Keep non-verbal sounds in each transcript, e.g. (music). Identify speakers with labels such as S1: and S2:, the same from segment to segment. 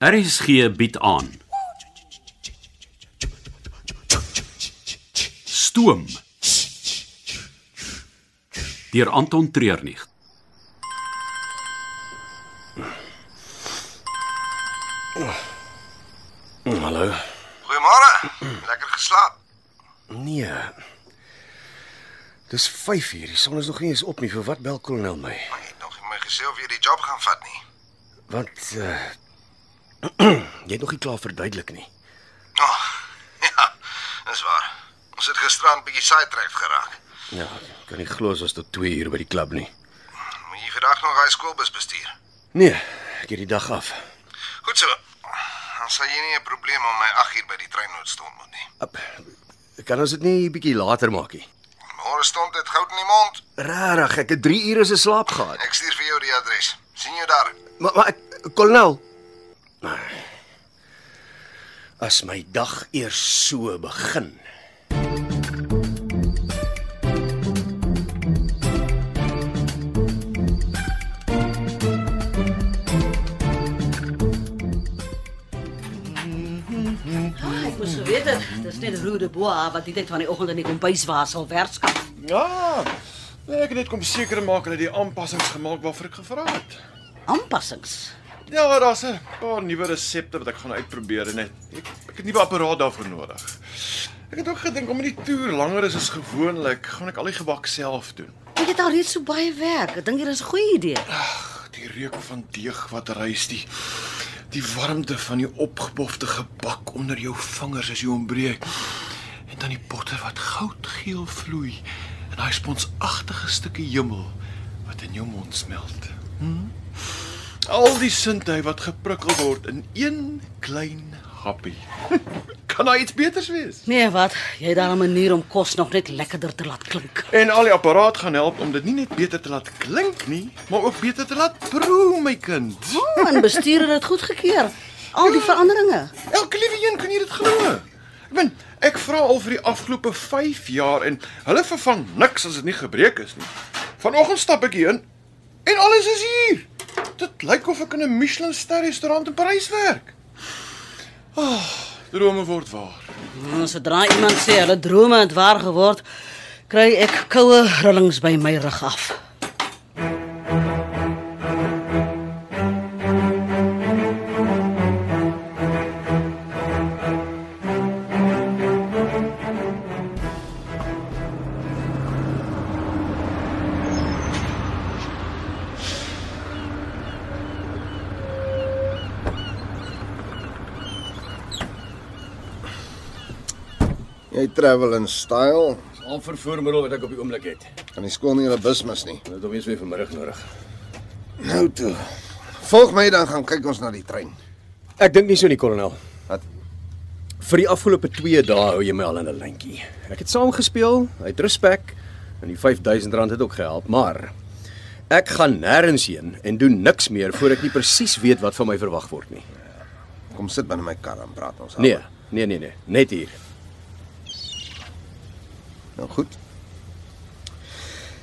S1: RSG bied aan. Stoom. Deur Anton Treurnig.
S2: Mm, Hallo.
S3: Goeiemôre. (clears throat) Lekker geslaap.
S2: Nee. Dis 5 uur. Die son is nog nie eens op nie. Vir wat bel kolonel my?
S3: Maar jy het nog nie my gesê of jy die job gaan vat nie.
S2: Want uh (clears throat) jy het nog nie klaar verduidelik nie.
S3: Ag, oh, (laughs) ja. Dis waar. Ons het gisteraan bietjie sidetrack geraak.
S2: Ja, kan nie glo ons was tot 2 uur by die klub nie.
S3: Moet jy vandag nog daai skoolbus bestuur?
S2: Nee, ek het die dag af.
S3: Goed so. Dan sal jy nie 'n probleem om my 8 uur by die treinnood stond moet nie.
S2: Ap, Kan ons dit nie bietjie later maak nie?
S3: Môre stond dit goud in die mond.
S2: Regtig, ek het 3 ure se slaap gehad.
S3: Ek stuur vir jou die adres. sien jou daar.
S2: Maar maar ek kolonel. As my dag eers so begin.
S4: Ek moes geweet het, dis net Rode Boa wat die tyd van die oggend in die kombuis was al werkskap.
S5: Ja. Nee, ek het net kom seker maak dat die aanpassings gemaak waarvoor ek gevra het.
S4: Aanpassings.
S5: Ja, daar's 'n paar nuwe resepte wat ek gaan uitprobeer en ek ek, ek het 'n nuwe apparaat daarvoor nodig. Ek het ook gedink om die toer langer is as gewoonlik, gaan ek al die gebak self doen.
S4: Ek het al reeds so baie werk. Ek dink dit is 'n goeie idee.
S5: Die reuk van deeg wat rys, die die warmte van die opgebofte gebak onder jou vingers as jy hom breek. En dan die botter wat goudgeel vloei en daai sponsagtige stukkie hemel wat in jou mond smelt. Hm? Al die sintuie wat geprikkel word in een klein happie. (laughs) kan daar iets beters wees?
S4: Nee, wat? Jy het daar 'n manier om kos nog net lekkerder te laat klink.
S5: En al die apparaat gaan help om dit nie net beter te laat klink nie, maar ook beter te laat proe, my kind.
S4: O, Oh, en bestuur het dit goedgekeur. Al die veranderinge.
S5: Elke liewe een kan jy dit glo. Ek ben ek vra al vir die afgelope 5 jaar en hulle vervang niks as dit nie gebreek is nie. Vanoggend stap ek hier in en alles is hier. Dit lyk of ek in 'n Michelin-ster restaurant in Parys werk. Ah, oh, drome word waar.
S4: En Hmm, sodra iemand sê hulle drome het waar geword, kry ek koue rillings by my rug af.
S3: Jy travel in style.
S6: Al vervoermiddel wat ek op die oomblik het.
S3: Kan die skool nie hulle bus mis nie.
S6: Dit hom eens weer vanmiddag nodig.
S3: Nou toe. Volg my dan gaan kyk ons na die trein.
S6: Ek dink nie so nie, kolonel.
S3: Wat?
S6: Vir die afgelope 2 dae hou jy my al in 'n lyntjie. Ek het saam gespeel, uit respek en die R5000 het ook gehelp, maar ek gaan nêrens heen en doen niks meer voor ek nie presies weet wat van my verwag word nie.
S3: Kom sit binne my kar en praat ons.
S6: Nee, nee, nee, nee, net hier.
S3: Nou goed.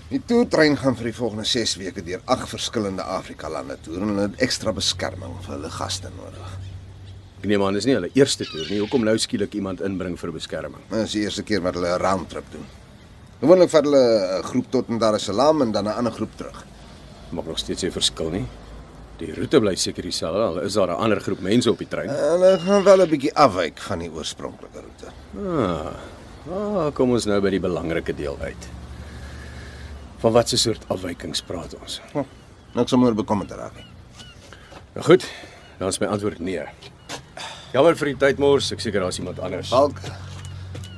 S3: Die toertrein gaan vir die volgende 6 weke deur ag verskillende Afrika lande toer en hulle het ekstra beskerming vir hulle gaste nodig.
S6: Ek neem aan dis nie hulle eerste toer nie. Hoekom nou skielik iemand inbring vir beskerming?
S3: Dit is Nou, die eerste keer wat hulle 'n roundtrip doen. Gewoonlik vat hulle 'n groep tot in Dar es Salaam en dan 'n ander groep terug.
S6: Maak nog steeds 'n verskil nie. Die roete bly seker dieselfde. Al is daar 'n ander groep mense op die trein.
S3: Hulle gaan wel 'n bietjie afwyk van die oorspronklike roete.
S6: Ah. Ah, kom ons nou by die belangrike deel uit. Van watter soort afwykings praat ons?
S3: Niks om oor bekommerd te raak nie.
S6: Nou goed, dan is my antwoord nee. Jammer vir die tyd mors, ek seker daar's iemand anders.
S3: Dalk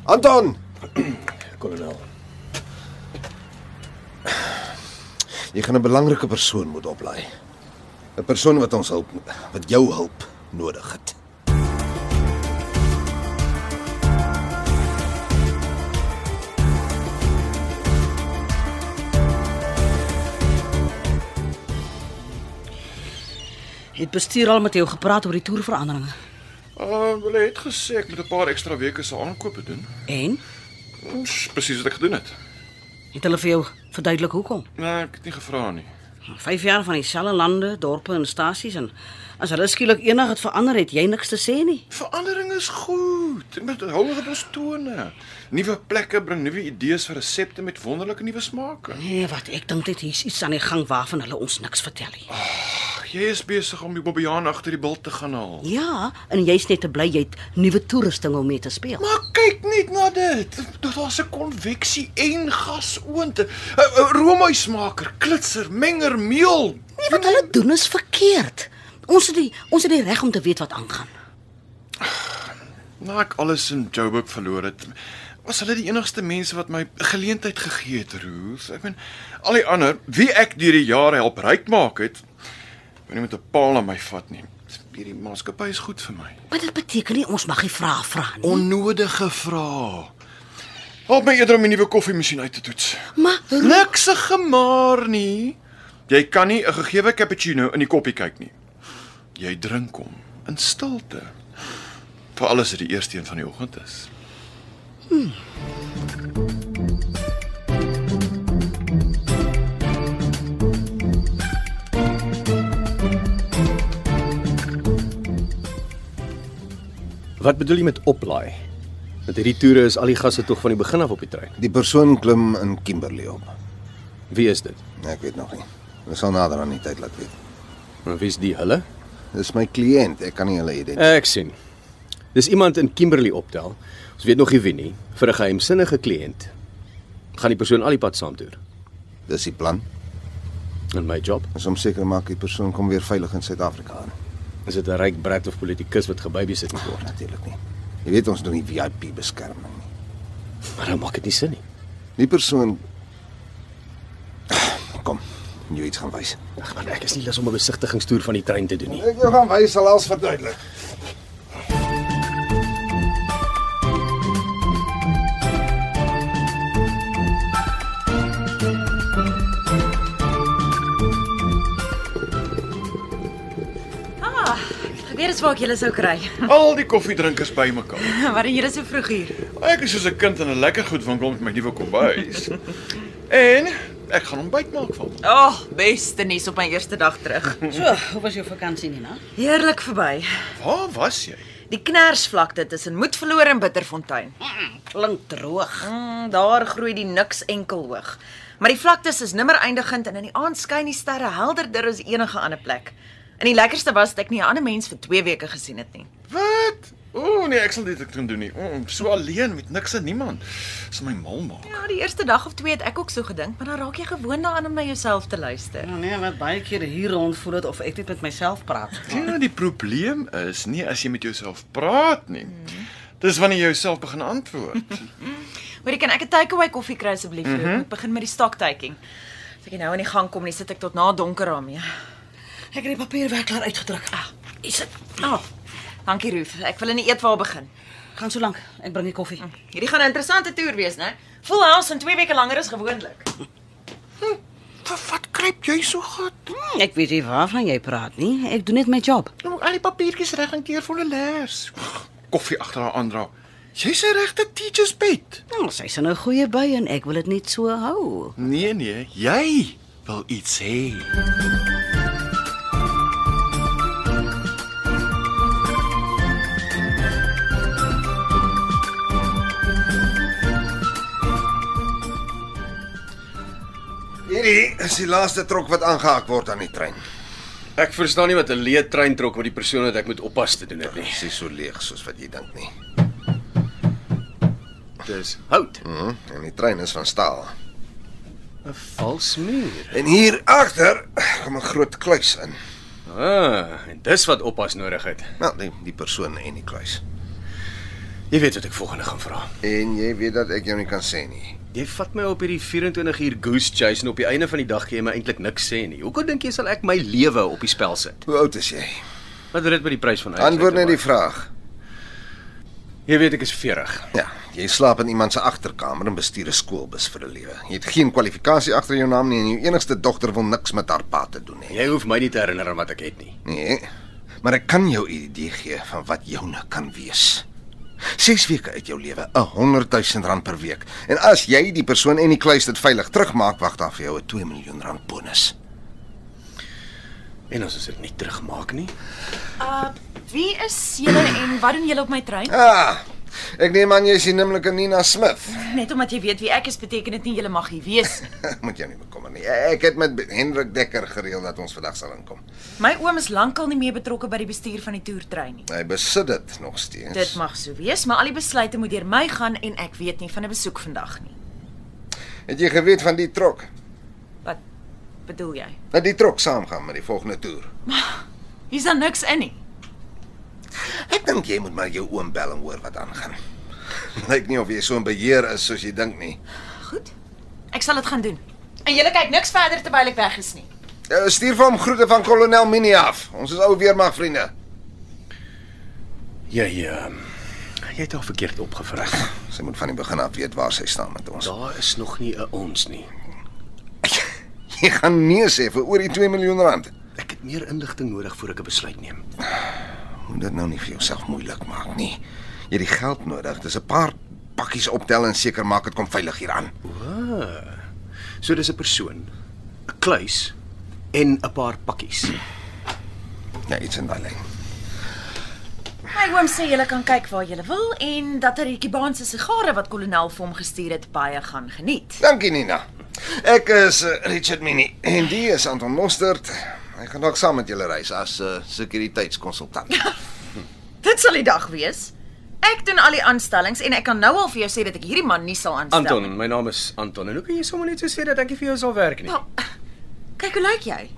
S3: Anton,
S6: kolonel.
S3: jy gaan 'n belangrike persoon moet oplaai. 'n Persoon wat ons hulp wat jou hulp nodig het.
S4: Het bestuur al met jou gepraat oor die toerveranderinge.
S5: Uh, hulle het gesê ek moet 'n paar ekstra weke se aankope doen.
S4: En
S5: Ons presies wat ek gedoen het.
S4: het hulle vir jou verduidelik hoekom?
S5: Nee, ek het nie gevra nie.
S4: Vyf jaar van dieselfde lande, dorpe en stasies en as hulle skielik enigiets verander het, jy niks te sê nie.
S5: Verandering is goed. Dit hou ons op ons tone. Nuwe plekke bring nuwe idees vir resepte met wonderlike nuwe smake.
S4: Nee, wat ek dink dit hier's iets aan die gang waarvan hulle ons niks vertel nie.
S5: Ag, jy is besig om die bobbejaan agter die bil te gaan haal.
S4: Ja, en jy's net te bly jy het nuwe toerusting om mee te speel.
S5: Maar kyk net na dit. Dit was 'n konveksie en gasoond. 'n- 'n Roomysmaker, klitser, menger, meel.
S4: Nee, wat hulle doen is verkeerd. Ons het die ons het die reg om te weet wat aangaan.
S5: Na ek alles in Joburg verloor het, was hulle die enigste mense wat my geleentheid gegee het, Roos. Ek meen, al die ander wie ek deur die jare help ryk maak het, kon nie met 'n paal aan my vat nie. Hierdie maatskappy is goed vir my.
S4: Maar dit beteken nie ons mag nie vra vra nie.
S5: Onnodige vrae. Help my eerder om die nuwe koffiemasjien uit te toets.
S4: maar Ro-
S5: Niks gemaar nie. Jy kan nie 'n gegewe cappuccino in die koppie kyk nie. Jy drink hom in stilte. Veral as dit die eerste een van die oggend is.
S6: Wat bedoel jy met oplaai? Met hierdie toere is al die gasse tog van die begin af op die trein.
S3: Die persoon klim in Kimberley op.
S6: Wie is dit?
S3: Nee, Ek weet nog nie. Ons sal nader aan die tyd laat weet.
S6: En wie's die hulle?
S3: Dis my kliënt, ek kan nie hulle identifiseer.
S6: Ek sien. Dis iemand in Kimberley optel. Ons weet nog nie wie nie vir 'n geheimsinnige kliënt. Gaan die persoon al die pad saam toer
S3: Dis die plan.
S6: in my job?
S3: Ons om seker maak die persoon kom weer veilig in Suid-Afrika aan.
S6: Is dit 'n ryk brat of politikus wat gebabysit moet word?
S3: Natuurlik nie. Jy weet ons doen nie VIP beskerming nie.
S6: Maar dan maak dit nie sin nie.
S3: Die persoon (sighs) Kom, jy iets gaan wys.
S6: Ag man, ek is nie lus om 'n besigtigingstoer van die trein te doen nie.
S3: Ek jou gaan wys sal alles verduidelik.
S7: Ek weet dis waar ek julle sou kry. (laughs)
S5: Al die koffiedrinkers bymekaar.
S7: Wat doen julle so vroeg hier?
S5: Ek is soos 'n kind in 'n lekker goed winkel met my nuwe kombuis. en ek gaan ontbyt maak vir hom.
S7: O, oh, beste nuus op my eerste dag terug.
S4: So, hoe was jou vakansie nie, na?
S7: Heerlik verby.
S5: Waar was jy?
S7: Die knersvlakte tussen Moedverloor en Bitterfontein.
S4: Klink droog.
S7: Mm, daar groei die niks enkel hoog. Maar die vlaktes is nimmer eindigend en in die aand skyn die sterre helderder as enige ander plek. En die lekkerste was dat ek nie 'n ander mens vir 2 weke gesien het nie.
S5: Wat? O nee, ek sal dit ek kan doen nie. Mm, so alleen met niks en niemand. Sal my mal maak.
S7: Ja, die eerste dag of twee het ek ook so gedink, maar dan raak jy gewoond daaraan om na jouself te luister.
S4: Nou nee, wat baie keer hier rond voel dit of ek net met myself praat.
S5: Ja, die probleem is nie as jy met jouself praat nie. Dis wanneer jy jouself begin antwoord.
S7: Hoorie, kan ek 'n takeaway koffie kry asseblief? Mm -hmm. Ek begin met die stocktaking. As ek nie nou aan die gang kom nie, sit ek tot na donker ja. daarmee.
S4: Ek het die papierwerk klaar uitgedruk. Ah, is dit?
S7: Oh, dankie Roof. Ek wil in die eetwa begin.
S4: Gaan so lank. Ek bring die koffie.
S7: Hierdie gaan 'n interessante toer wees, né? Full house en 2 weke langer as gewoonlik.
S5: Wat, wat kruip jy so gat?
S4: Hmm, ek weet nie waarvan jy praat nie. Ek doen net my job.
S5: Nou moet al die papiertjies reg en keer volle leers. Koffie agter haar aandra. Jy's 'n regte teacher's pet.
S4: Nou, sy's in 'n goeie by en ek wil dit net so hou.
S5: Nee nee, jy wil iets hê.
S3: Hierdie is die laaste trok wat aangehaak word aan die trein.
S6: Ek verstaan nie wat 'n leë trein trok met die persoon wat ek moet oppas te doen het nie.
S3: Dis nie so leeg soos wat jy dink nie.
S6: Dis hout,
S3: Mhm, en die trein is van staal.
S6: 'n vals muur.
S3: En hier agter kom 'n groot kluis in.
S6: Ah, en dis wat oppas nodig het.
S3: Nou, die, die persoon en die kluis.
S6: Jy weet wat ek volgende gaan vra.
S3: En jy weet dat ek jou nie kan sê nie.
S6: Jy vat my op hierdie 24 uur goose chase en op die einde van die dag gee jy my eintlik niks sê nie. Hoekom dink jy sal ek my lewe op die spel sit?
S3: Hoe oud is jy?
S6: Wat het dit met die prys van huis?
S3: Antwoord net die vraag.
S6: Jy weet ek is 40.
S3: Ja, jy slaap in iemand se agterkamer en bestuur 'n skoolbus vir 'n lewe. Jy het geen kwalifikasie agter jou naam nie en jou enigste dogter wil niks met haar pa te doen hê.
S6: Jy hoef my nie te herinner aan wat ek het nie.
S3: Nee. Maar ek kan jou 'n idee gee van wat joune kan wees. 6 weke uit jou lewe, 'n 100 000 rand per week. En as jy die persoon en die kluis dit veilig terugmaak, wag daar vir jou 'n 2 miljoen rand bonus.
S6: En as ons dit nie terugmaak nie,
S8: Uh wie is julle en wat doen julle op my trein?
S3: Ah. Ek neem aan jy is die nimmerlike Nina Smith.
S7: Net omdat jy weet wie ek is, beteken dit nie jy mag hier wees nie.
S3: (laughs) Moet jou nie bekommer nie. Eh, Ek het met Hendrik Dekker gereël dat ons vandag sal inkom.
S7: My oom is lankal nie meer betrokke by die bestuur van die toertrein nie.
S3: Hy besit dit nog steeds.
S7: Dit mag so wees, maar al die besluite moet deur my gaan en ek weet nie van 'n besoek vandag nie.
S3: Het jy geweet van die trok?
S7: Wat bedoel jy?
S3: Dat die trok saamgaan met die volgende toer.
S7: Hier's dan niks in nie.
S3: Ek dink jy moet maar jou oom bel en hoor wat aangaan. (laughs) Lyk nie of jy so in beheer is soos jy dink nie.
S7: Goed. Ek sal dit gaan doen. En julle kyk niks verder terwyl ek weg is nie.
S3: Eh, Stuur vir hom groete van kolonel Minnie af. Ons is ou weermag vriende.
S6: jy ehm jy het haar verkeerd opgevra.
S3: Sy moet van die begin af weet waar sy staan met ons. (laughs)
S6: Daar is nog nie 'n ons nie.
S3: Jy gaan nee sê vir oor die 2 miljoen rand.
S6: Ek het meer inligting nodig voor ek 'n besluit neem.
S3: Moet dit nou nie vir jouself moeilik maak nie. Jy het die geld nodig. Dis 'n paar pakkies optel en seker maak dit kom veilig hier aan.
S6: So dis 'n persoon, 'n kluis en 'n paar pakkies.
S3: Ja, iets in daai lyn.
S7: My oom sê julle kan kyk waar julle wil en dat hy die Kubaanse sigare wat kolonel vir hom gestuur het baie gaan geniet.
S3: Dankie Nina. Ek is eh, Richard Minnie en die is Anton Mostert. Ek gaan dalk saam met julle reis as 'n uh, sekuriteitskonsultant.
S7: Dit sal die dag wees. Ek doen al die aanstellings en ek kan nou al vir jou sê dat ek hierdie man nie sal aanstel nie.
S6: Anton, my naam is Anton en hoe kan jy sommer net so sê dat ek nie vir jou sal werk nie?
S7: Wel, Kyk hoe lyk jy?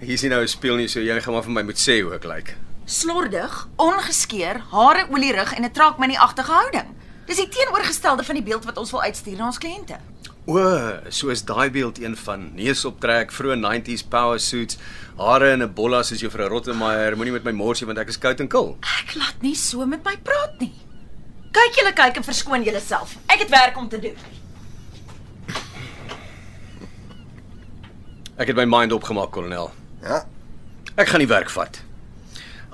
S6: Hier sien nou 'n speel nie, so jy gaan maar vir my moet sê hoe ek lyk. Like.
S7: Slordig, ongeskeer, hare olie rig en 'n traak my nie agtige houding. Dis die teenoorgestelde van die beeld wat ons wil uitstuur na ons kliënte.
S6: O, soos daai beeld een van neusoptrek, vroeë 90s power suits, hare in 'n bolla soos juffrou Rottemeier. Moenie met my morsie want ek is koud en kil.
S7: Ek laat nie so met my praat nie. Kyk julle kyk en verskoon julleself. Ek het werk om te doen.
S6: Ek het my mind opgemaak, kolonel.
S3: Ja.
S6: Ek gaan die werk vat.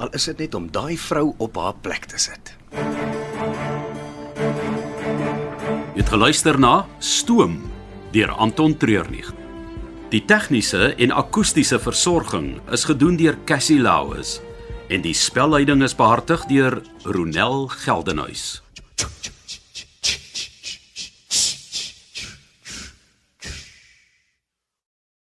S6: Al is dit net om daai vrou op haar plek te sit.
S1: Jy het geluister na Stoom deur Anton Treurnig. Die tegniese en akoestiese versorging is gedoen deur Cassie Lauis en die spelleiding is behartig deur Ronel Geldenhuys.